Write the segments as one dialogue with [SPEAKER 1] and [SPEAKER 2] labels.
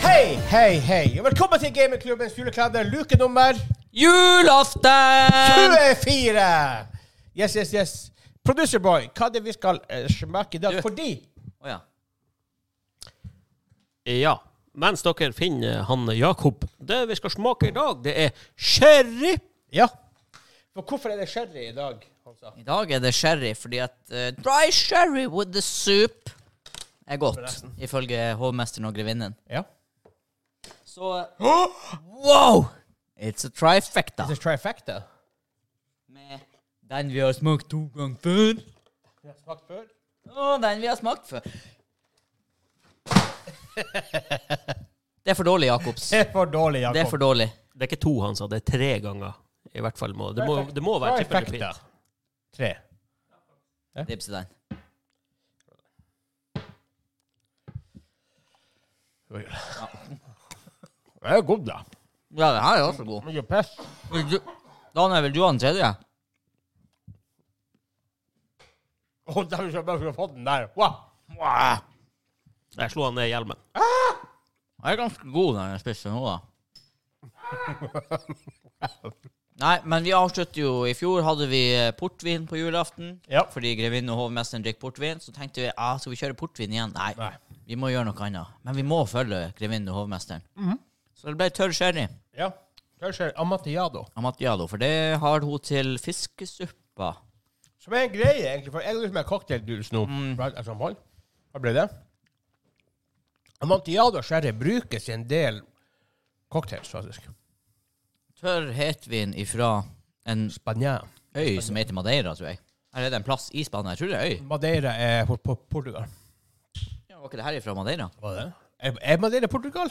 [SPEAKER 1] Hei, hei, og velkommen til Gamingklubbens julekalender, luke nummer
[SPEAKER 2] Julaften!
[SPEAKER 1] 24! Yes, yes, yes. Producer boy, hva er det vi skal eh, smake i dag?
[SPEAKER 2] Du-
[SPEAKER 1] Fordi
[SPEAKER 2] Å ja.
[SPEAKER 3] Ja. Mens dere finner han Jakob Det vi skal smake i dag, det er sherry.
[SPEAKER 1] Ja. For hvorfor er det sherry i dag? altså? Hansa?
[SPEAKER 2] I dag er det sherry, fordi at eh, dry sherry with the soup er godt, ifølge hovmesteren og grevinnen.
[SPEAKER 1] Ja.
[SPEAKER 2] Så Wow! It's a trifecta.
[SPEAKER 1] This is trifecta.
[SPEAKER 2] Med den vi har smakt to ganger før,
[SPEAKER 1] Jeg har smakt før.
[SPEAKER 2] og den vi har smakt før. Det er for dårlig, Jacobs.
[SPEAKER 1] Det er for dårlig, Jakob.
[SPEAKER 2] Det er for dårlig.
[SPEAKER 3] Det er ikke to han sa, det er tre ganger. I hvert fall må Det må, det må være chip and
[SPEAKER 1] Trifecta.
[SPEAKER 3] repeat.
[SPEAKER 1] Tre.
[SPEAKER 2] Dipse den.
[SPEAKER 1] Oi. Det er god, da.
[SPEAKER 2] Ja, den her er også god.
[SPEAKER 1] Mye pest.
[SPEAKER 2] Vil du, Daniel, vil du ha den tredje?
[SPEAKER 1] Å, oh, dæven, jeg bare skulle fått den der. Wow.
[SPEAKER 3] Jeg slo han ned i hjelmen.
[SPEAKER 2] Den er ganske god, den jeg spiser nå, da. Nei, men vi avslutter jo I fjor hadde vi eh, portvin på julaften.
[SPEAKER 1] Ja.
[SPEAKER 2] Fordi grevinnen og hovmesteren drikker portvin. Så tenkte vi ah, skal vi kjøre portvin igjen. Nei,
[SPEAKER 1] Nei.
[SPEAKER 2] vi må gjøre noe annet. Men vi må følge grevinnen og hovmesteren.
[SPEAKER 1] Mhm.
[SPEAKER 2] Så det ble tørr sherry
[SPEAKER 1] Ja. Kanskje amatillado.
[SPEAKER 2] av Mattiado, for det har hun til fiskesuppa.
[SPEAKER 1] Som er en greie, egentlig. For jeg er liksom en cocktaildus nå. fra et samhold. Hva ble det? Amontillado og sherry brukes i en del cocktails, faktisk.
[SPEAKER 2] Tørr hetvin ifra en
[SPEAKER 1] Spania.
[SPEAKER 2] øy som heter Madeira, tror jeg. Eller er det en plass i Spania? Jeg tror det er
[SPEAKER 1] Mm.
[SPEAKER 2] øy.
[SPEAKER 1] Madeira er på, på Portugal.
[SPEAKER 2] Ja, var ikke det her ifra Madeira?
[SPEAKER 1] Hva er det? Er, er Madeira Portugal?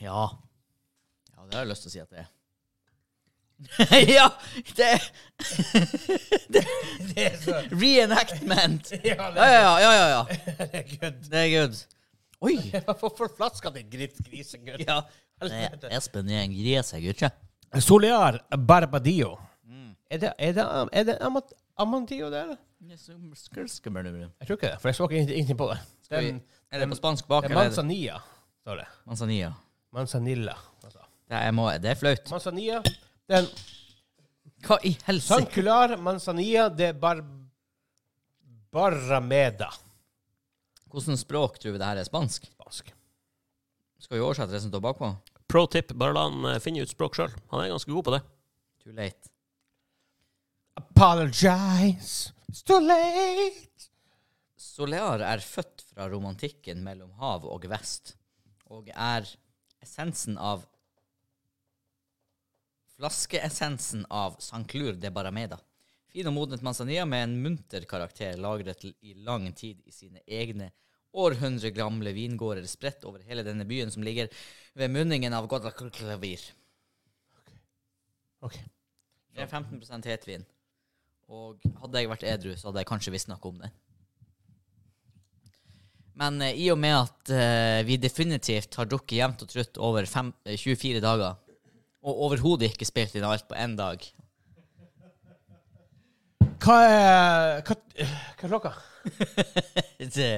[SPEAKER 2] Ja. Ja, det har jeg lyst til å si at det er. ja! Det er
[SPEAKER 1] Det er så
[SPEAKER 2] reenactment!
[SPEAKER 1] Ja,
[SPEAKER 2] Ja,
[SPEAKER 1] det
[SPEAKER 2] ja, ja. ja, ja.
[SPEAKER 1] er good.
[SPEAKER 2] Det er good. Oi!
[SPEAKER 1] Hvorfor flaska di grisegutt?
[SPEAKER 2] Ja. Nei, Espen er en gris, jeg, gutt.
[SPEAKER 1] Solear Barbadillo. Er det, er det, er det amant, Amantillo der? Jeg tror ikke det, for jeg så ikke ingenting- ingenting på det.
[SPEAKER 2] vi-
[SPEAKER 1] Den,
[SPEAKER 2] Er det på spansk bak,
[SPEAKER 1] det er
[SPEAKER 2] eller? er det-
[SPEAKER 1] Manzanilla, står det.
[SPEAKER 2] Manzanilla.
[SPEAKER 1] Manzanilla. Altså.
[SPEAKER 2] Det er, må, det er flaut.
[SPEAKER 1] Manzanilla. Den
[SPEAKER 2] Hva i helsike?
[SPEAKER 1] Sancular Manzanilla de Bar... Barrameda.
[SPEAKER 2] Hvordan språk tror vi det her er spansk?
[SPEAKER 1] Spansk.
[SPEAKER 2] Skal vi oversette det som står bakpå?
[SPEAKER 3] Pro tip, bare la han eh, finne ut språk sjøl. Han er ganske god på det.
[SPEAKER 2] Too late.
[SPEAKER 1] Apologize. It's too late.
[SPEAKER 2] Solear er født fra romantikken mellom hav og vest, og er essensen av Flaskeessensen av Sanclur de Barameda. Fin og modnet manzanilla med en munter karakter lagret l- i lang tid i sine egne århundre gamle vingårder spredt over hele denne byen som ligger ved munningen av Guadalquivir.
[SPEAKER 1] Ok.
[SPEAKER 2] Det er 15 hetvin. Og hadde jeg vært edru, så hadde jeg kanskje visst noe om det. Men eh, i og med at eh, vi definitivt har drukket jevnt og trutt over fem, eh, 24 dager, og overhodet ikke spilt inn alt på én dag
[SPEAKER 1] Hva er Hva, hva er klokka?
[SPEAKER 2] det,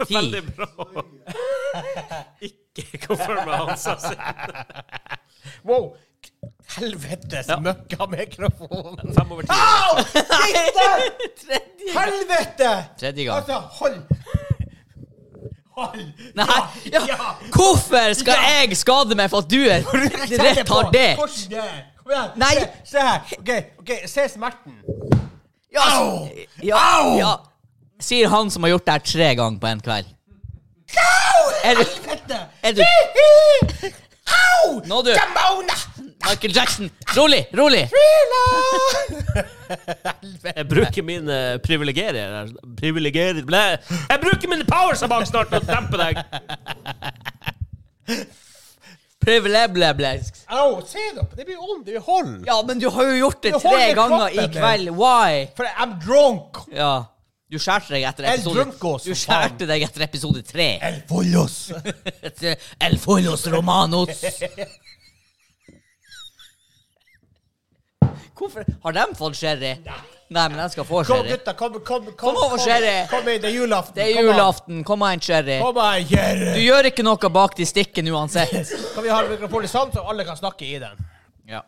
[SPEAKER 3] Veldig bra. Ikke confirme han sa si.
[SPEAKER 1] Wow! Helvetes møkka mikrofon!
[SPEAKER 3] Fem over ti.
[SPEAKER 1] Au! Fitte!
[SPEAKER 2] Tredje,
[SPEAKER 1] Helvete!
[SPEAKER 2] tredje gang.
[SPEAKER 1] Altså, hold Hold!
[SPEAKER 2] Nei! Ja.
[SPEAKER 1] ja.
[SPEAKER 2] Hvorfor skal jeg skade meg for at du er retardert?
[SPEAKER 1] Hvordan det er? Kom igjen!
[SPEAKER 2] Nei.
[SPEAKER 1] Se, se her! OK, ok, se smerten.
[SPEAKER 2] Ja,
[SPEAKER 1] Au!
[SPEAKER 2] Ja,
[SPEAKER 1] Au!
[SPEAKER 2] ja. Sier han som har gjort det her tre ganger på en kveld. Er du,
[SPEAKER 1] Helvete!
[SPEAKER 2] er du
[SPEAKER 1] Au!
[SPEAKER 2] Nå, du.
[SPEAKER 1] Jamona!
[SPEAKER 2] Michael Jackson? Rolig, rolig!
[SPEAKER 3] Jeg bruker mine privilegerer Privilegerer Ble. Jeg bruker mine powers her bak snart til å dempe deg!
[SPEAKER 2] Privilebleblesk.
[SPEAKER 1] Au! Se da! Det blir ånd i hold.
[SPEAKER 2] Ja, men du har jo gjort det
[SPEAKER 1] Du holder
[SPEAKER 2] tre ganger i
[SPEAKER 1] kroppen,
[SPEAKER 2] kveld. Why?
[SPEAKER 1] For I'm drunk.
[SPEAKER 2] Ja. Du skjærte deg etter
[SPEAKER 1] El
[SPEAKER 2] episode
[SPEAKER 1] Drunkos,
[SPEAKER 2] Du
[SPEAKER 1] for faen.
[SPEAKER 2] skjærte deg etter episode tre.
[SPEAKER 1] El follos.
[SPEAKER 2] Etter El Follos Romanos. Hvorfor Har de fått sherry? Nei, men jeg skal få
[SPEAKER 1] Kom,
[SPEAKER 2] sherry.
[SPEAKER 1] gutta. Kom, kom, kom,
[SPEAKER 2] Kom over, Sherry.
[SPEAKER 1] Kom inn, det er julaften.
[SPEAKER 2] Det er
[SPEAKER 1] Kom an.
[SPEAKER 2] julaften. Kom an, sherry.
[SPEAKER 1] Kom an,
[SPEAKER 2] Du
[SPEAKER 1] Sherry.
[SPEAKER 2] gjør ikke noe bak de stikkene uansett.
[SPEAKER 1] Kan vi ha en mikrofon i sånn, så alle kan snakke i den?
[SPEAKER 2] Ja.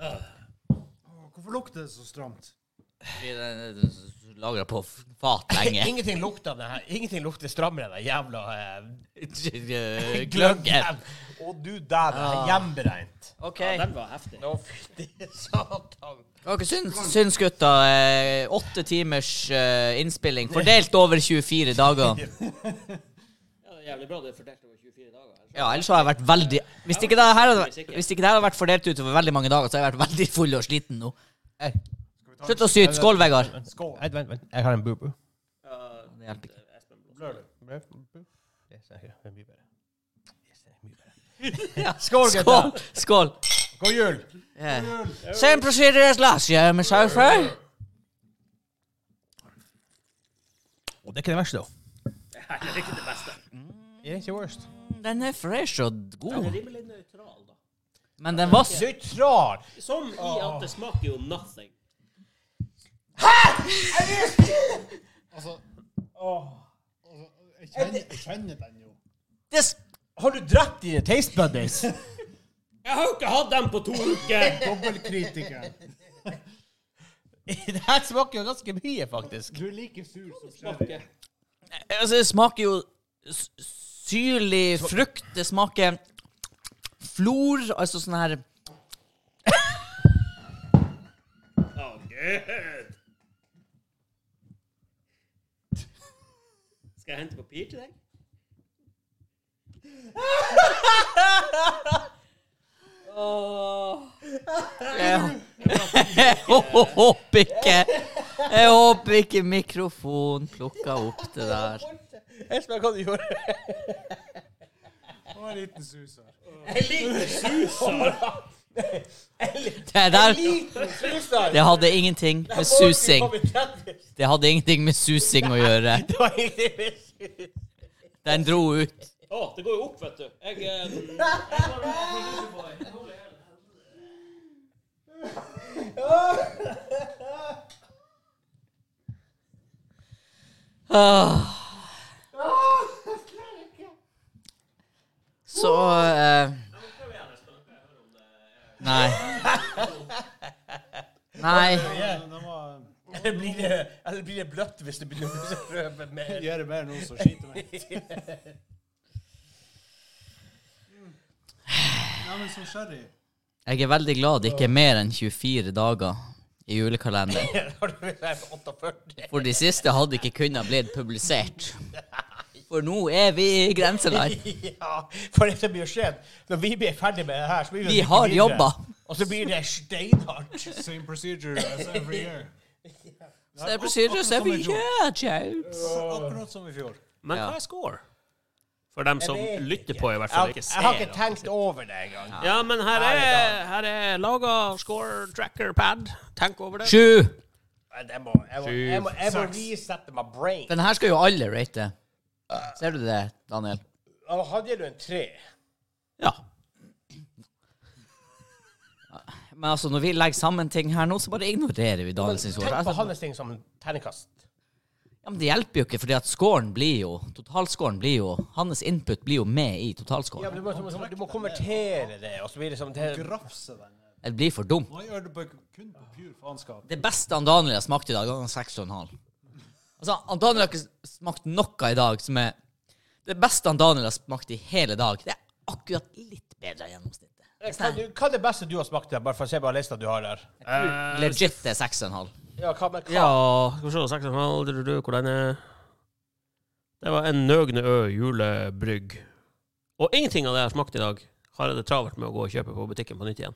[SPEAKER 4] Hvorfor lukter det så stramt?
[SPEAKER 2] eh, Lagra på fat lenge.
[SPEAKER 1] Ingenting lukter av det her. Ingenting lukter strammere enn den jævla eh,
[SPEAKER 2] Gløggen.
[SPEAKER 1] Å, du der. Ah. Hjemmebrent.
[SPEAKER 2] OK.
[SPEAKER 3] Den var heftig.
[SPEAKER 1] Å, fytti satan.
[SPEAKER 2] Hva dere syns, syns gutta? eh, Åtte timers eh, innspilling fordelt over 24 dager.
[SPEAKER 3] Ja, det er jævlig bra det er fordelt over 24 dager. ellers-
[SPEAKER 2] Ja, ellers har jeg vært veldig Hvis ikke det her hadde, vært- hvis ikke det her hadde vært fordelt utover veldig mange dager, så har jeg vært veldig full og sliten nå. Hey. Slutt å syte. Skål, Vegard.
[SPEAKER 1] Skål. Vent, vent, vent. Jeg har en bubu.
[SPEAKER 2] Det hjelper ikke.
[SPEAKER 1] Det er sikkert- det er mye bedre. Yes, det er mye bedre.
[SPEAKER 4] Skål,
[SPEAKER 2] Skål! Skål.
[SPEAKER 4] God jul!
[SPEAKER 2] Yeah. Same procedure as last year, Miss Haufer.
[SPEAKER 1] Og det er ikke det verste, da.
[SPEAKER 3] Det er heller ikke det beste.
[SPEAKER 1] Det Mm. er ikke worst.
[SPEAKER 2] Den er fresh og
[SPEAKER 3] Den er
[SPEAKER 2] god,
[SPEAKER 3] rimelig nøytral, da.
[SPEAKER 2] men den var søt.
[SPEAKER 1] Nøytral.
[SPEAKER 3] Som i at det smaker jo nothing.
[SPEAKER 4] Altså Åh. Altså, jeg, kjenner, jeg kjenner den jo.
[SPEAKER 2] Det s-
[SPEAKER 1] Har du drept dine taste buddies?
[SPEAKER 3] Jeg har jo ikke hatt den på to uker!
[SPEAKER 4] Dobbeltkritikeren.
[SPEAKER 1] det her smaker jo ganske mye, faktisk.
[SPEAKER 4] Du er like sur som sherry.
[SPEAKER 2] altså, det smaker jo s- syrlig frukt. Det smaker flor, altså sånn her
[SPEAKER 3] Å, gud! Skal jeg hente papir til deg?
[SPEAKER 2] eh, Jeg håper ikke Jeg håper ikke mikrofonen plukka opp det der.
[SPEAKER 1] Jeg spør hva du gjorde.
[SPEAKER 4] Og en liten suser.
[SPEAKER 2] Det der
[SPEAKER 1] Liten susar.
[SPEAKER 2] Det hadde ingenting med susing
[SPEAKER 1] Det
[SPEAKER 2] Det hadde ingenting med susing å gjøre.
[SPEAKER 1] var egentlig med sus.
[SPEAKER 2] Den dro ut.
[SPEAKER 3] Å, det går jo opp, vet du. Jeg, eh,
[SPEAKER 2] Ah. Så eh, Nei. Nei.
[SPEAKER 4] Den var
[SPEAKER 1] Eller blir det, eller blir det bløtt hvis du begynner å prøve mer?
[SPEAKER 4] Gjør det mer nå, så skiter vi. Ja, men som sherry
[SPEAKER 2] Jeg er veldig glad det ikke er mer enn 24 dager i julekalenderen.
[SPEAKER 1] Har du vært her på 48?
[SPEAKER 2] For de siste hadde ikke kunnet blitt publisert. For nå er vi i grenseland.
[SPEAKER 1] Ja, for det som blir skjedd, når vi blir ferdig med det her, så blir
[SPEAKER 2] Vi har
[SPEAKER 1] videre.
[SPEAKER 2] jobba.
[SPEAKER 1] Og så blir det steinhardt.
[SPEAKER 4] Same procedure as every year.
[SPEAKER 2] Så det er procedure, så er vi yeah, James.
[SPEAKER 4] Akkurat som i fjor.
[SPEAKER 3] men hva er score? For dem som
[SPEAKER 1] vet ikke.
[SPEAKER 3] lytter på, i hvert
[SPEAKER 1] Jeg har,
[SPEAKER 3] fall. Ikke
[SPEAKER 1] jeg har ikke
[SPEAKER 3] ser.
[SPEAKER 1] tenkt over det engang.
[SPEAKER 3] Ja, men her er, her er laga score tracker pad. Tenk over det.
[SPEAKER 2] Sju.
[SPEAKER 1] Nei, det må- Jeg må, jeg må, jeg må resette my brain.
[SPEAKER 2] Den her skal jo alle rate. Ser du det, Daniel?
[SPEAKER 1] Ja, Hadde du en tre?
[SPEAKER 3] Ja.
[SPEAKER 2] Men altså, når vi legger sammen ting her nå, så bare ignorerer vi Daniel sin score.
[SPEAKER 1] Tenk på
[SPEAKER 2] Altså,
[SPEAKER 1] hans ting som en terningkast.
[SPEAKER 2] Ja, men det hjelper jo ikke, fordi at scoren blir jo Totalscoren blir jo Hans input blir jo med i
[SPEAKER 1] Ja, men
[SPEAKER 2] totalscoren.
[SPEAKER 1] du, må, du, må, du må konvertere det, og så blir det som til
[SPEAKER 4] Grafse den.
[SPEAKER 2] Det blir for dumt.
[SPEAKER 4] Nå gjør du på, kun på pur faenskap.
[SPEAKER 2] Det beste han Daniel har smakt i dag, han har 6,5. Altså, han Daniel har ikke smakt noe i dag som er Det beste han Daniel har smakt i hele dag, det er akkurat litt bedre enn gjennomsnittet.
[SPEAKER 1] Hva du- hva er det beste du har smakt der, bare for å se på lista du har der?
[SPEAKER 2] Legit det er 6,5.
[SPEAKER 1] Ja, hva med hva?
[SPEAKER 3] Eh, Ja, skal vi se, seks og en halv, du, du, du, hvor den er Det var en Nøgne Ø julebrygg. Og ingenting av det jeg har smakt i dag, har jeg det travelt med å gå og kjøpe på butikken på nytt igjen.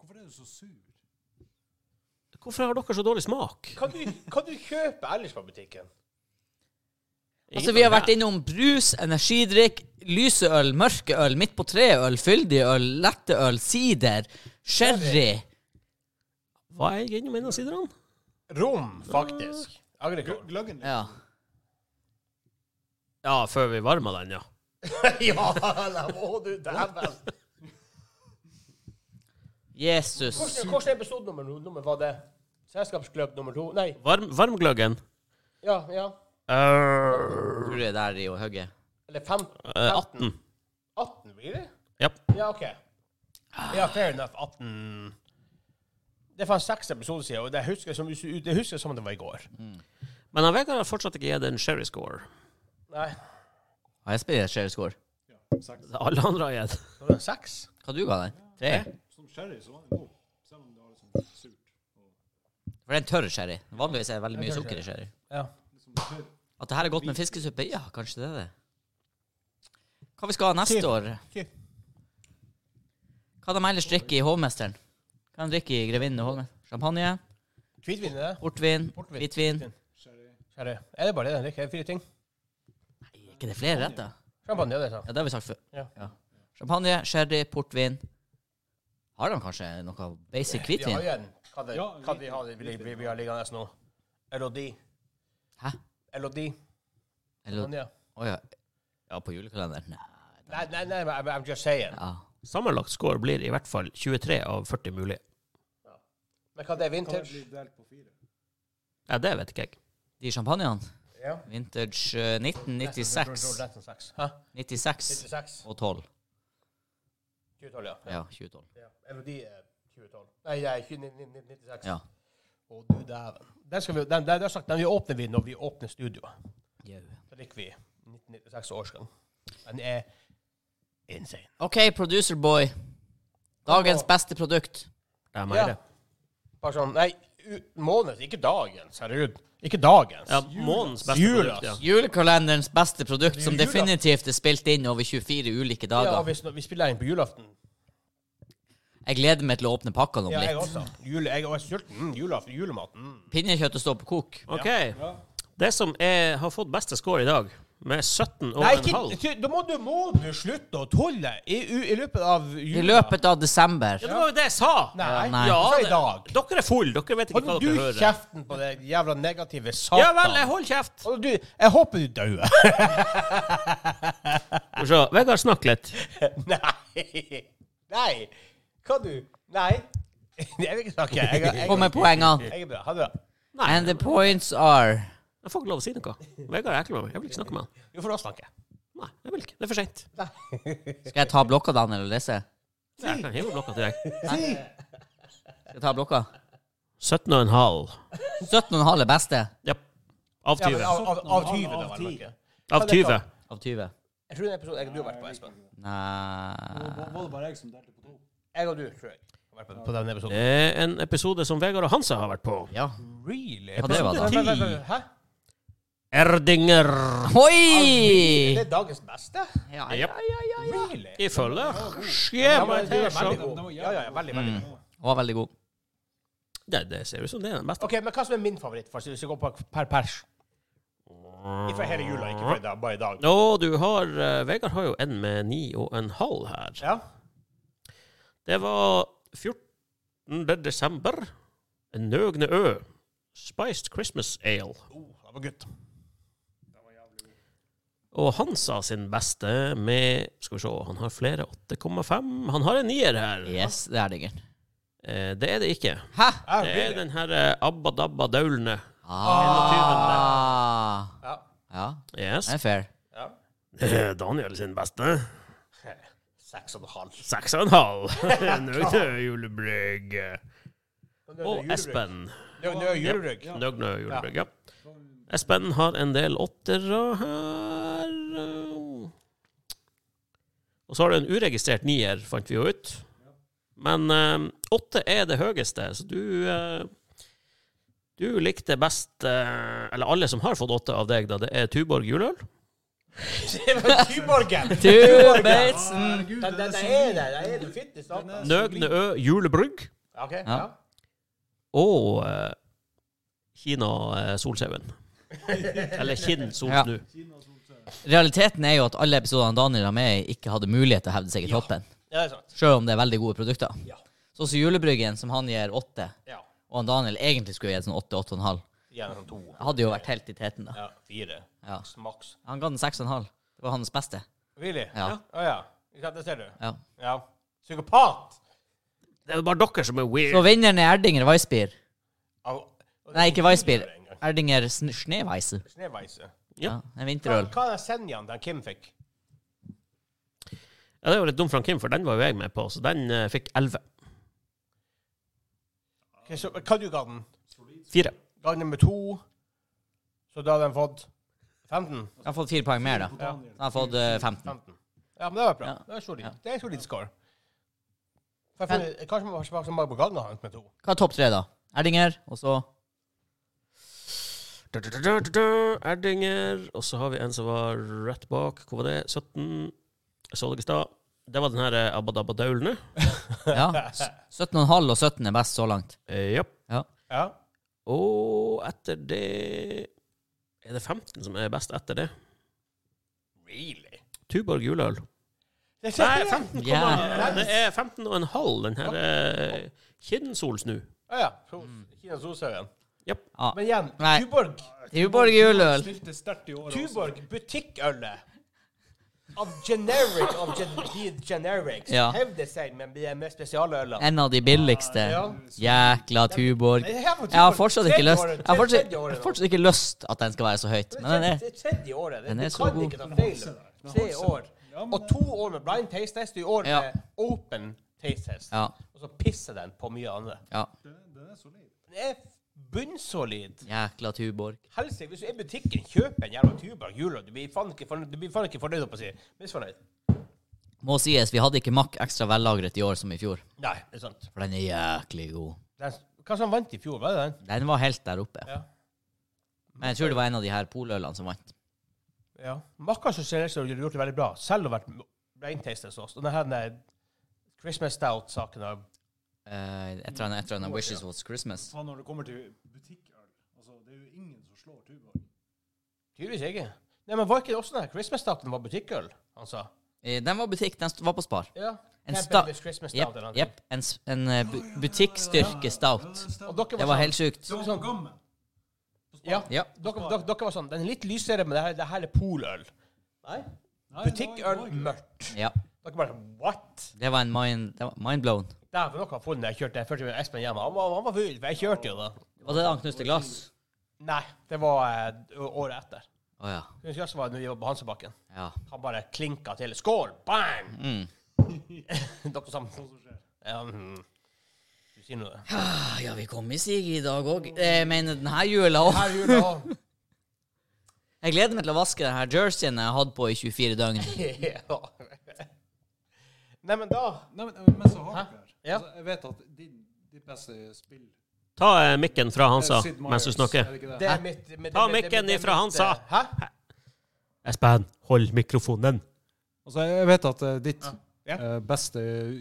[SPEAKER 4] Hvorfor er du så sur?
[SPEAKER 3] Hvorfor har dere så dårlig smak?
[SPEAKER 1] Kan, du, kan du kjøpe ellers på butikken?
[SPEAKER 2] Altså, vi har vært innom brus, energidrikk, lyseøl, mørkeøl, midt på treøl, fyldigøl, letteøl, sider, sherry
[SPEAKER 3] Hva er jeg innom en av siderne?
[SPEAKER 1] Rom, faktisk. Agrikor.
[SPEAKER 4] Gløggen din.
[SPEAKER 2] Ja.
[SPEAKER 3] Ja, før vi varma den, ja.
[SPEAKER 1] ja, eller må du dæven.
[SPEAKER 2] Jesus.
[SPEAKER 1] Hvordan episode nummer, nummer var det? Selskapsgløgg nummer to. Nei,
[SPEAKER 3] Varm, varmgløggen.
[SPEAKER 1] ja, ja.
[SPEAKER 3] Eh,
[SPEAKER 2] Tror du det er der i å hugge?
[SPEAKER 1] Eller fem,
[SPEAKER 3] eh, 18.
[SPEAKER 1] 18 blir det?
[SPEAKER 3] Ja.
[SPEAKER 1] Ja, OK. Ja, fair enough. 18 Det er faen seks episoder siden, og det husker jeg som, det husker jeg som det var i går.
[SPEAKER 3] Men han Vegard har fortsatt ikke gitt en sherry score.
[SPEAKER 1] Nei,
[SPEAKER 2] Ja, jeg spiller share score.
[SPEAKER 4] Seks.
[SPEAKER 3] Alle andre har gitt.
[SPEAKER 1] det var seks?
[SPEAKER 2] Hva du ga den? Tre?
[SPEAKER 4] Som sherry så var den god, selv om det var liksom surt.
[SPEAKER 2] For det er en tørr sherry. Vanligvis er det veldig mye sukker i sherry.
[SPEAKER 1] Ja.
[SPEAKER 4] Liksom tørr.
[SPEAKER 2] At det her er godt med fiskesuppe? Ja, kanskje det er det. Hva vi skal ha neste
[SPEAKER 1] Typ.
[SPEAKER 2] år?
[SPEAKER 1] Typ.
[SPEAKER 2] Hva de ellers drikker i Hovmesteren? Hva de drikker i Grevinnen og Hovmesteren? Champagne,
[SPEAKER 1] Hvitvin er det?
[SPEAKER 2] portvin,
[SPEAKER 1] Portvin.
[SPEAKER 2] hvitvin.
[SPEAKER 1] Hvitvin.
[SPEAKER 4] Sherry.
[SPEAKER 1] Kjære. Er det bare det den drikker? Er det Fire ting?
[SPEAKER 2] Nei, er ikke det flere retter?
[SPEAKER 1] Champagne, ja, det er sant.
[SPEAKER 2] Ja, det har vi sagt før.
[SPEAKER 1] Ja.
[SPEAKER 2] Champagne, sherry, portvin. Har de kanskje noe basic
[SPEAKER 1] Vi
[SPEAKER 2] hvitvin?
[SPEAKER 1] har jo en. Hva, det,
[SPEAKER 4] Ja,
[SPEAKER 1] hva vi har vi, vi, vi, vi har liggende nå? LOD.
[SPEAKER 2] Hæ?
[SPEAKER 1] LOD.
[SPEAKER 2] Eller
[SPEAKER 1] Ja.
[SPEAKER 2] Å ja. Ja, på julekalenderen? Nei.
[SPEAKER 1] Nei, nei, nei, I'm, I'm just saying.
[SPEAKER 2] Ja.
[SPEAKER 3] Sammenlagt score blir i hvert fall 23 av 40 mulige.
[SPEAKER 1] Men hva det er
[SPEAKER 4] Kan det
[SPEAKER 1] vintage?
[SPEAKER 4] bli delt på fire?
[SPEAKER 3] Ja, det vet ikke jeg.
[SPEAKER 2] De champagnene?
[SPEAKER 1] Ja.
[SPEAKER 2] Vintage eh, 1996.
[SPEAKER 1] Nesten seks. Hæ?
[SPEAKER 2] 96
[SPEAKER 1] 96.
[SPEAKER 2] og 12.
[SPEAKER 1] 2012, ja.
[SPEAKER 2] Ja, 2012.
[SPEAKER 1] Ja. LOD er 2012. Nei, nei, 1996.
[SPEAKER 2] Ja.
[SPEAKER 1] Å, du dæven. Den skal vi, den, den, den, den vi åpner vi når vi åpner studioet. Da drikker vi 1996-årsgang. Den er insane.
[SPEAKER 2] OK, producer boy. Dagens beste produkt.
[SPEAKER 3] Det er mer.
[SPEAKER 1] Bare sånn, nei, u- måned, ikke dagens, herregud. Ikke dagens.
[SPEAKER 3] Ja, månens beste
[SPEAKER 1] Julas.
[SPEAKER 3] produkt, ja.
[SPEAKER 2] Julekalenderens beste produkt, som
[SPEAKER 1] Jula.
[SPEAKER 2] definitivt er spilt inn over 24 ulike
[SPEAKER 1] Ja,
[SPEAKER 2] dager.
[SPEAKER 1] hvis, vi spiller inn på julaften.
[SPEAKER 2] Jeg gleder meg til å åpne pakkene om
[SPEAKER 1] Ja, jeg
[SPEAKER 2] litt.
[SPEAKER 1] også. Jule, jeg er sulten. Mm, julaften, julematen. Mm.
[SPEAKER 2] Pinnekjøttet står på kok.
[SPEAKER 3] OK. Det som er, har fått beste score i dag, med 17 og
[SPEAKER 1] Nei,
[SPEAKER 3] en
[SPEAKER 1] ikke,
[SPEAKER 3] halv
[SPEAKER 1] ty- da må du, må du slutte å tulle i, u- i løpet av jula.
[SPEAKER 2] I løpet av desember.
[SPEAKER 3] Ja, det var jo det jeg sa!
[SPEAKER 1] Nei,
[SPEAKER 2] Nei.
[SPEAKER 1] Ja,
[SPEAKER 3] Ja,
[SPEAKER 1] i dag.
[SPEAKER 3] det- Dere er full, Dere vet ikke hva
[SPEAKER 1] Hold du
[SPEAKER 3] dere hører.
[SPEAKER 1] kjeften på det jævla negative satan.
[SPEAKER 3] Ja vel, jeg holder kjeft.
[SPEAKER 1] Hold du, jeg håper du dauer.
[SPEAKER 3] Skal vi se, Vegard, snakk litt.
[SPEAKER 1] Nei. Nei. Hva du? Nei. Jeg vil ikke snakke. Jeg, jeg,
[SPEAKER 2] Få med poengene.
[SPEAKER 1] jeg er bra. Ha det bra.
[SPEAKER 2] And the points are
[SPEAKER 3] Jeg får ikke lov å si noe. Vegard er ekkel med meg. Jeg vil ikke snakke med han.
[SPEAKER 1] Jo, for da snakker jeg.
[SPEAKER 3] Nei, jeg vil ikke. Det er for seint.
[SPEAKER 2] Skal jeg ta blokka, Daniel, og lese?
[SPEAKER 3] Jeg kan hive blokka til deg.
[SPEAKER 2] Skal jeg ta blokka?
[SPEAKER 3] 17 og en halv.
[SPEAKER 2] 17,5 er beste
[SPEAKER 3] Ja. Av
[SPEAKER 1] Ja, men
[SPEAKER 3] 20.
[SPEAKER 1] av, av, av 20, da,
[SPEAKER 4] Av
[SPEAKER 1] vel.
[SPEAKER 4] 10.
[SPEAKER 1] merker jeg.
[SPEAKER 3] Av 20.
[SPEAKER 2] av 20.
[SPEAKER 1] Jeg tror det er en episode jeg og du har vært på, Espen.
[SPEAKER 4] Det
[SPEAKER 2] Nei
[SPEAKER 4] var var det bare jeg som delte på to?
[SPEAKER 1] Jeg og du, tror jeg. Har vært på, på den episoden.
[SPEAKER 3] Det er en episode som Vegard og Hansa har vært på.
[SPEAKER 2] Ja.
[SPEAKER 1] Really?
[SPEAKER 2] Ja, det var det.
[SPEAKER 1] Vent, vent, vent, Hæ?
[SPEAKER 3] Erdinger.
[SPEAKER 1] Det
[SPEAKER 2] Oi!
[SPEAKER 1] er dagens beste?
[SPEAKER 2] Ja, ja,
[SPEAKER 3] Jepp.
[SPEAKER 2] ja, ja.
[SPEAKER 1] Really?
[SPEAKER 3] Ifølge
[SPEAKER 1] Ja, men
[SPEAKER 3] skjemaet
[SPEAKER 1] det
[SPEAKER 3] her,
[SPEAKER 1] er
[SPEAKER 3] så
[SPEAKER 1] veldig god. Ja, ja, ja, veldig, veldig god.
[SPEAKER 2] Hun var veldig god.
[SPEAKER 3] det, det ser ut som det er den beste.
[SPEAKER 1] OK, men hva som er min favoritt, for hvis vi går på per pers? Ikke fra hele jula, ikke fra i dag, bare i dag.
[SPEAKER 3] Å, du har eh, Vegard har jo en med ni og en halv her.
[SPEAKER 1] Ja?
[SPEAKER 3] Det var 14. desember. En nøgne ø. Spiced Christmas Ale.
[SPEAKER 1] Oh, det var gutt.
[SPEAKER 3] Og Hansa sin beste med Skal vi se, han har flere 8,5. Han har en nier her.
[SPEAKER 2] Yes, det er digger.
[SPEAKER 3] Eh, det er det ikke.
[SPEAKER 2] Hæ?
[SPEAKER 1] Ja,
[SPEAKER 3] Det er
[SPEAKER 1] really?
[SPEAKER 3] den her eh, Abba Dabba Daulene.
[SPEAKER 2] Ah.
[SPEAKER 1] Ja.
[SPEAKER 2] Ja,
[SPEAKER 3] Yes.
[SPEAKER 2] det er fair.
[SPEAKER 1] ja.
[SPEAKER 3] Eh, Daniel sin beste.
[SPEAKER 1] Seks og en halv.
[SPEAKER 3] Seks og en halv. Nøgne ø julebrygg. Og Espen.
[SPEAKER 1] Det er jo julerygg.
[SPEAKER 4] Ja.
[SPEAKER 3] Nøgne ø julebrygg, ja. Espen har en del åttere her. eh, Og så har du en uregistrert nier, fant vi jo ut. Men eh, åtte er det høyeste, så du eh, Du likte best eh, Eller alle som har fått åtte av deg, da, det er Tuborg Juløl.
[SPEAKER 1] Det var Tuborgen!
[SPEAKER 2] Du,
[SPEAKER 1] Tuborgen.
[SPEAKER 2] Bateson.
[SPEAKER 4] Herregud,
[SPEAKER 1] Den, den,
[SPEAKER 4] den er
[SPEAKER 1] den
[SPEAKER 4] så
[SPEAKER 1] er
[SPEAKER 4] ny.
[SPEAKER 1] der. Den er du fitt i starten.
[SPEAKER 4] Den er-
[SPEAKER 3] Nøgne Ø Julebrygg
[SPEAKER 1] Ja, OK. Ja.
[SPEAKER 3] og eh, Kina eh, Solsauen. Eller Kinn Solsnu.
[SPEAKER 4] Kina, solsøl.
[SPEAKER 2] Realiteten er jo at alle episodene Daniel har med, i, ikke hadde mulighet til å hevde seg i toppen.
[SPEAKER 1] ja, det er sant.
[SPEAKER 2] Selv om det er veldig gode produkter.
[SPEAKER 1] Ja.
[SPEAKER 2] Sånn som Julebryggen, som han gir åtte,
[SPEAKER 1] Ja.
[SPEAKER 2] og han Daniel egentlig skulle gitt sånn åtte, åtte og en halv.
[SPEAKER 1] Gjerne sånn to.
[SPEAKER 2] Hadde jo vært helt i teten, da.
[SPEAKER 1] Ja, fire.
[SPEAKER 2] Ja.
[SPEAKER 1] Maks.
[SPEAKER 2] Han ga den seks og en halv. Det var hans beste.
[SPEAKER 1] Really?
[SPEAKER 2] Ja.
[SPEAKER 1] Å ja. Ikke sant, Det ser du.
[SPEAKER 2] Ja.
[SPEAKER 1] Ja. Psykopat!
[SPEAKER 3] Det er jo bare dere som er
[SPEAKER 2] Så
[SPEAKER 3] weird.
[SPEAKER 2] vinneren er Erdinger Weissbier.
[SPEAKER 1] Av
[SPEAKER 2] Nei, ikke Weissbier.
[SPEAKER 1] en gang.
[SPEAKER 2] Erdinger sn- Schneeweisse.
[SPEAKER 1] Sneveise.
[SPEAKER 2] Ja.
[SPEAKER 3] Ja.
[SPEAKER 2] En
[SPEAKER 1] Hva,
[SPEAKER 2] vinterøl.
[SPEAKER 1] hva er den Senjaen den Kim fikk?
[SPEAKER 3] Ja, det var litt dumt fra Kim, for den var jo jeg med på, så den eh, fikk 11.
[SPEAKER 1] Ok, så Hva du ga den?
[SPEAKER 3] Fire.
[SPEAKER 1] Gang nummer to, så da har den fått 15?
[SPEAKER 2] Jeg har fått fire poeng mer, da.
[SPEAKER 1] Ja,
[SPEAKER 2] Jeg har fått eh, 15.
[SPEAKER 1] 15. ja men det var bra.
[SPEAKER 2] Ja.
[SPEAKER 1] Det er solid.
[SPEAKER 2] Ja.
[SPEAKER 1] Det er solid score. For jeg føler- Kanskje man var så mange på gangen hans med to.
[SPEAKER 2] Hva er topp tre, da? Erdinger, og så
[SPEAKER 3] Du, du, du, du, du, du, Erdinger. Og så har vi en som var rett bak. Hvor var det? 17. Jeg så dere i stad. Det var den her eh, Abadabadaulene.
[SPEAKER 2] Ja. s- 17,5 og 17 er best så langt.
[SPEAKER 3] Eh, Ja.
[SPEAKER 1] Ja.
[SPEAKER 3] Og etter det Er det 15 som er best etter det?
[SPEAKER 1] Really?
[SPEAKER 3] Tuborg juleøl.
[SPEAKER 1] Det er
[SPEAKER 3] Nei,
[SPEAKER 1] sikkert det.
[SPEAKER 3] 15,
[SPEAKER 2] Ja.
[SPEAKER 3] det er 15 og en halv, den her eh, Kinnsolsnu.
[SPEAKER 1] Ah, ja. Pro- Kina Solsaugen.
[SPEAKER 3] Japp.
[SPEAKER 2] Ja.
[SPEAKER 1] Men igjen,
[SPEAKER 2] Nei.
[SPEAKER 1] Tuborg
[SPEAKER 2] Tuborg juleøl.
[SPEAKER 4] Stilte sterkt i altså. år også.
[SPEAKER 1] Tuborg butikkølet av generic of gen the generics
[SPEAKER 2] Ja.
[SPEAKER 1] hevder seg med de mer spesialølene.
[SPEAKER 2] En av de billigste. Jækla Tuborg.
[SPEAKER 1] Nei, det her var
[SPEAKER 2] Jeg har
[SPEAKER 1] Tuborg
[SPEAKER 2] fortsatt ikke
[SPEAKER 1] tredje
[SPEAKER 2] lyst
[SPEAKER 1] året-
[SPEAKER 2] Jeg har fortsatt,
[SPEAKER 1] tredje året
[SPEAKER 2] jeg
[SPEAKER 1] nå.
[SPEAKER 2] har fortsatt ikke lyst at den skal være så høyt. Men den er
[SPEAKER 1] Det er tredje året. Det-
[SPEAKER 2] den er
[SPEAKER 1] Du
[SPEAKER 2] så
[SPEAKER 1] kan
[SPEAKER 2] god.
[SPEAKER 1] ikke ta feil. Tre år.
[SPEAKER 4] Ja, men
[SPEAKER 1] Og to år med blind taste test, og i år
[SPEAKER 2] Ja.
[SPEAKER 1] med open taste test.
[SPEAKER 2] Ja.
[SPEAKER 1] Og så pisser den på mye annet.
[SPEAKER 2] ja.
[SPEAKER 4] Den- Den er solid.
[SPEAKER 1] Den er bunnsolid.
[SPEAKER 2] Jækla Tuborg.
[SPEAKER 1] Helsike, hvis du er i butikken, kjøp en jævla tuborg jula. Du blir faen ikke fornøyd, du blir faen ikke fornøyd, holdt på å si. Misfornøyd.
[SPEAKER 2] Må sies, vi hadde ikke makk ekstra vellagret i år som i fjor.
[SPEAKER 1] Nei, det er sant.
[SPEAKER 2] For den er jæklig god.
[SPEAKER 1] Den, hva som vant i fjor, var det den?
[SPEAKER 2] Den var helt der oppe.
[SPEAKER 1] Ja.
[SPEAKER 2] Men jeg tror det var en av de her polølene som vant.
[SPEAKER 1] Ja. Makka som ser ut som har gjort det veldig bra, selv om det har vært blind taste hos oss. Og denne her den Christmas Stout-saken har
[SPEAKER 2] Eh, Et eller annet- et eller annet Wishes Was Christmas.
[SPEAKER 4] Faen, når det kommer til butikkøl, altså, det er jo ingen som slår Tuborg.
[SPEAKER 1] tydeligvis ikke Nei, men var ikke det også den her Christmas Stouten var butikkøl, han sa?
[SPEAKER 2] Eh, Den var butikk, den st- var på Spar.
[SPEAKER 1] Ja.
[SPEAKER 2] En
[SPEAKER 1] Camp
[SPEAKER 2] sta-
[SPEAKER 1] Elvis Christmas Stout
[SPEAKER 2] Jepp.
[SPEAKER 1] eller noe.
[SPEAKER 2] jepp. En, s- en eh, bu butikkstyrke stout.
[SPEAKER 1] Og dere
[SPEAKER 2] Det
[SPEAKER 1] var
[SPEAKER 2] var
[SPEAKER 1] sånn,
[SPEAKER 2] helt sjukt.
[SPEAKER 4] Det var på gammen.
[SPEAKER 1] ja,
[SPEAKER 2] Ja.
[SPEAKER 1] Dere, dere, dere var sånn Den er litt lysere, men det her, det her er poløl. Nei.
[SPEAKER 4] Nei,
[SPEAKER 1] Butikkøl
[SPEAKER 4] det var- det var-
[SPEAKER 1] mørkt.
[SPEAKER 2] Ja.
[SPEAKER 1] Dere bare sånn, What?
[SPEAKER 2] Det var en mind, det var mind blown.
[SPEAKER 1] Dæven, dere har funnet det. Jeg kjørte jeg førte med Espen hjem. Han var, han var full, for jeg kjørte jo da.
[SPEAKER 2] Var det da han knuste glass?
[SPEAKER 1] Nei, det var eh, året etter.
[SPEAKER 2] Å ja.
[SPEAKER 1] Hun husker også var når vi var på Hansebakken.
[SPEAKER 2] ja.
[SPEAKER 1] Han bare klinka til. Skål! Bang!
[SPEAKER 2] Mm.
[SPEAKER 1] dere sammen.
[SPEAKER 4] Hva som skjer?
[SPEAKER 1] Ja, mm. Du sier noe.
[SPEAKER 2] Ah, ja, vi kom i sig i dag Eh, òg. Jeg mener denne jula òg.
[SPEAKER 1] Her jula òg.
[SPEAKER 2] Jeg gleder meg til å vaske denne jerseyen jeg har hatt på i 24 døgn.
[SPEAKER 1] ja. Neimen, da
[SPEAKER 4] Nei, men, men så har
[SPEAKER 1] Hæ?
[SPEAKER 4] dere
[SPEAKER 1] Ja.
[SPEAKER 4] altså, Jeg vet at din, ditt beste spill
[SPEAKER 3] Ta eh, mikken fra Hansa
[SPEAKER 4] er Sid Meier's,
[SPEAKER 3] mens du
[SPEAKER 4] er
[SPEAKER 3] snakker.
[SPEAKER 4] det ikke det?
[SPEAKER 1] Det er mitt, mitt
[SPEAKER 3] Ta
[SPEAKER 1] mitt- mitt-
[SPEAKER 3] mikken
[SPEAKER 1] mitt-
[SPEAKER 3] ifra
[SPEAKER 1] mitt-
[SPEAKER 3] Hansa.
[SPEAKER 1] Hæ?
[SPEAKER 3] Espen, hold mikrofonen.
[SPEAKER 4] Altså, jeg vet at eh, ditt
[SPEAKER 1] Ja.
[SPEAKER 4] eh, beste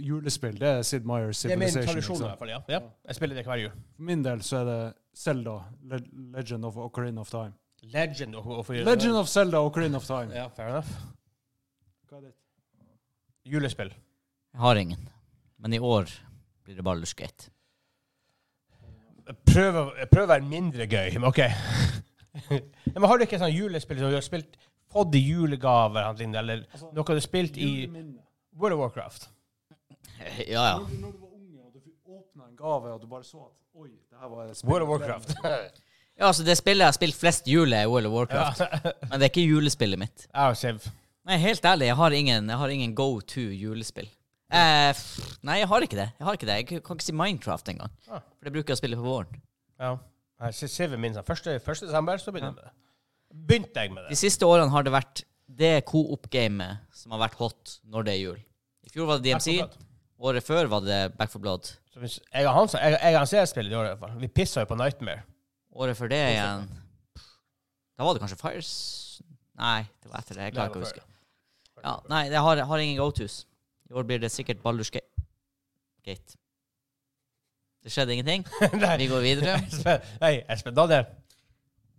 [SPEAKER 4] julespill, det er Sid Meier's
[SPEAKER 1] Det er min
[SPEAKER 4] Civilization.
[SPEAKER 1] tradisjon, i
[SPEAKER 4] ikke
[SPEAKER 1] hvert
[SPEAKER 4] sant?
[SPEAKER 1] fall. Ja. ja. Jeg spiller det hver jul.
[SPEAKER 4] For min del så er det Zelda, Le Legend of Ocarina of Time.
[SPEAKER 1] Legend of, of
[SPEAKER 4] Legend of Zelda, Ocarina of Time.
[SPEAKER 1] Ja, fair enough.
[SPEAKER 4] Hva er ditt?
[SPEAKER 1] Julespill.
[SPEAKER 2] Jeg har ingen. Men i år blir det ballerskate.
[SPEAKER 1] Prøv å prøv å være mindre gøy, men OK. Nei, men har du ikke sånn julespill som du har spilt fått i julegave eller noe lignende, eller noe du har spilt i
[SPEAKER 4] Juleminne.
[SPEAKER 1] World of Warcraft?
[SPEAKER 2] Ja, ja.
[SPEAKER 4] Når, du- når du var unge og du åpna en gave og du bare så at Oi, det her var et spill.
[SPEAKER 1] World of Warcraft.
[SPEAKER 2] Ja, altså Det spillet jeg har spilt flest jule, er World of Warcraft. Men det er ikke julespillet mitt.
[SPEAKER 1] Ja, Siv.
[SPEAKER 2] Nei, helt ærlig, jeg har ingen, jeg har ingen go to julespill. Eh, pff, nei, jeg har ikke det. Jeg har ikke det. Jeg kan ikke si Minecraft engang.
[SPEAKER 1] Ah.
[SPEAKER 2] For det bruker jeg å spille på våren.
[SPEAKER 1] Ja. Nei, Si- Siv er min. sånn. Første, første desember så begynner jeg med det. Begynte jeg med
[SPEAKER 2] De
[SPEAKER 1] det.
[SPEAKER 2] siste årene har det vært det co-op-gamet som har vært hot når det er jul. I fjor var det DMC.
[SPEAKER 1] Back for
[SPEAKER 2] Året før var det Back for Blood.
[SPEAKER 1] Så hvis jeg og Hansa jeg, jeg og Hansa spiller i år i hvert fall. Vi pissa jo på Nightmare.
[SPEAKER 2] Året før det igjen Da var det kanskje Fires Nei, det var etter det. Jeg klarer ikke å huske. Ja, nei, jeg har, jeg har ingen go-tos. I år blir det sikkert Baldur's Ga- Gate. Det skjedde ingenting.
[SPEAKER 1] Nei,
[SPEAKER 2] Vi går videre.
[SPEAKER 1] Espen, nei, Espen Daniel,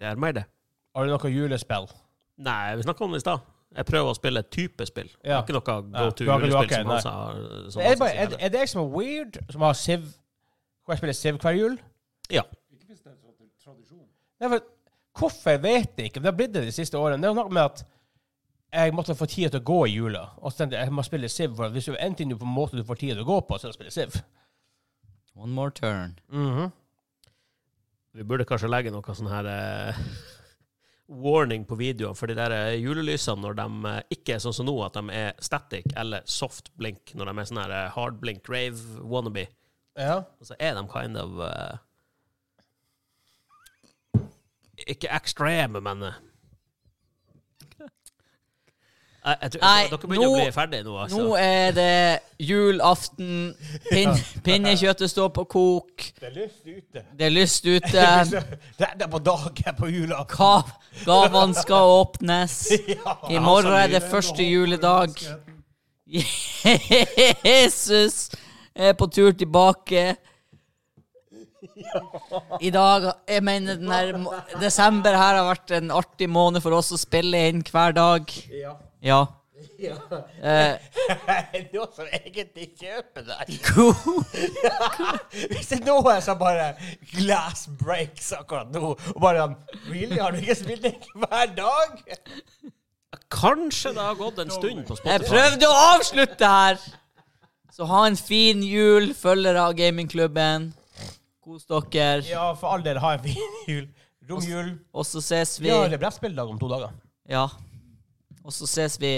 [SPEAKER 3] Det er meg, det.
[SPEAKER 1] har du noe julespill?
[SPEAKER 3] Nei, vi snakka om det i stad. Jeg prøver å spille et type spill. Det
[SPEAKER 1] Ja.
[SPEAKER 3] er Ikke noe
[SPEAKER 1] Ja,
[SPEAKER 3] go to
[SPEAKER 1] du har ikke- du har
[SPEAKER 3] julespill
[SPEAKER 1] ikke,
[SPEAKER 3] som
[SPEAKER 1] nei.
[SPEAKER 3] Hansa har. som
[SPEAKER 1] Er det, bare,
[SPEAKER 3] Hansa sier
[SPEAKER 1] er, det-
[SPEAKER 3] heller.
[SPEAKER 1] er det jeg som er weird, som har Siv Hvor jeg spiller Siv hver jul?
[SPEAKER 3] Ja.
[SPEAKER 4] Ikke hvis det er trad- tradisjon.
[SPEAKER 1] Nei, for, hvorfor vet jeg ikke? men Det har blitt det de siste årene. Det er jo noe med at jeg måtte få tida til å gå i jula. Og så tenkte jeg jeg må spille Siv. For hvis det er en ting du på en måte du får tida til å gå på, så er det å spille Siv.
[SPEAKER 2] One more turn.
[SPEAKER 3] Vi burde kanskje legge noe sånn her eh, warning på videoen for de der eh, julelysene når de eh, ikke er sånn som nå, at de er static eller soft blink, når de er sånn her eh, hard blink rave wannabe.
[SPEAKER 1] Ja.
[SPEAKER 3] Og så er de kind of eh, Ikke ekstreme, men eh, jeg, jeg tror,
[SPEAKER 2] Nei,
[SPEAKER 3] Dere begynner å
[SPEAKER 2] nå-
[SPEAKER 3] bli ferdig nå, altså.
[SPEAKER 2] Nå er det julaften. Pin, Pinnekjøttet står på kok.
[SPEAKER 1] Det er lyst ute.
[SPEAKER 2] Det er lyst ute.
[SPEAKER 1] Det er på dagen på julaften.
[SPEAKER 2] Ga- Gavene skal åpnes. I morgen er altså, det første juledag. Jesus er på tur tilbake. I dag Jeg mener, den her, må- desember her har vært en artig måned for oss å spille inn hver dag.
[SPEAKER 1] Ja.
[SPEAKER 2] Ja.
[SPEAKER 1] Ja.
[SPEAKER 2] Eh,
[SPEAKER 1] Nå som egentlig kjøper deg.
[SPEAKER 2] god
[SPEAKER 1] Hvis det er noen som bare glass breaks akkurat nå, og bare sånn, Really? Har du ikke spilt det hver dag?
[SPEAKER 3] Kanskje det har gått en stund på
[SPEAKER 2] Jeg
[SPEAKER 3] Spotify.
[SPEAKER 2] prøvde å avslutte her! Så ha en fin jul, følgere av gamingklubben. Kos dere.
[SPEAKER 1] Ja, for all del, ha en fin jul. Romjul.
[SPEAKER 2] Og så ses vi
[SPEAKER 1] Vi har brettspilldag om to dager.
[SPEAKER 2] Ja. Og så ses vi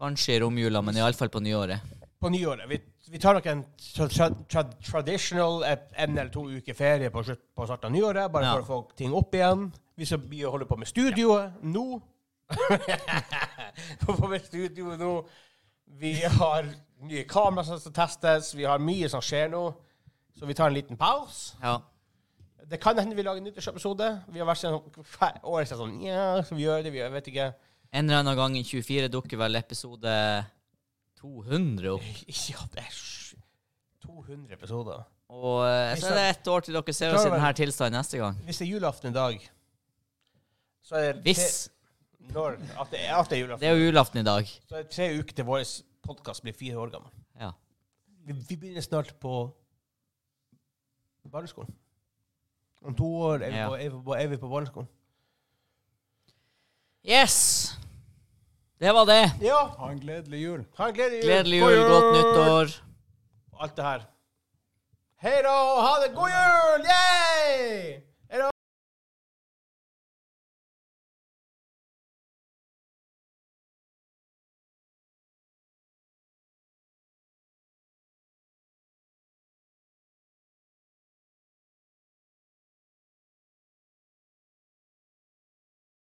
[SPEAKER 2] kanskje i romjula, men iallfall på nyåret.
[SPEAKER 1] På nyåret. Vi, vi tar nok en tra tra tra traditional eh, en eller to uker ferie på, slutt, på starten av nyåret, bare
[SPEAKER 2] Ja.
[SPEAKER 1] for å få ting opp igjen. Vi skal begynne å holde på med studioet nå. Holde på med studioet nå. Vi har nye kamera som skal testes. Vi har mye som skjer nå. Så vi tar en liten pause.
[SPEAKER 2] Ja.
[SPEAKER 1] Det kan hende vi lager en nyttårsepisode. Vi har vært sånn hver år så er det sånn Ja, skal vi gjøre det? Vi jeg vet ikke.
[SPEAKER 2] En eller annen gang i 24 dukker vel episode 200 opp.
[SPEAKER 1] Ja, det er sj- 200 episoder.
[SPEAKER 2] Og eh, så er det ett år til dere ser oss i denne tilstanden neste gang.
[SPEAKER 1] Hvis det er julaften i dag, så er det
[SPEAKER 2] Hvis.
[SPEAKER 1] Tre, når at det er, at det er julaften,
[SPEAKER 2] Det er jo julaften i dag.
[SPEAKER 1] så er det tre uker til vår podkast blir fire år gammel.
[SPEAKER 2] Ja.
[SPEAKER 1] Vi, vi begynner snart på barneskolen. Om to år er vi
[SPEAKER 2] Ja.
[SPEAKER 1] på, er vi på, er vi på barneskolen.
[SPEAKER 2] Yes! Det var det.
[SPEAKER 1] Ja!
[SPEAKER 4] Ha en gledelig jul.
[SPEAKER 1] Ha en gledelig jul.
[SPEAKER 2] Gledelig
[SPEAKER 1] God
[SPEAKER 2] jul, godt nyttår.
[SPEAKER 1] Alt det her. Hei da, og ha det! God jul! Yay!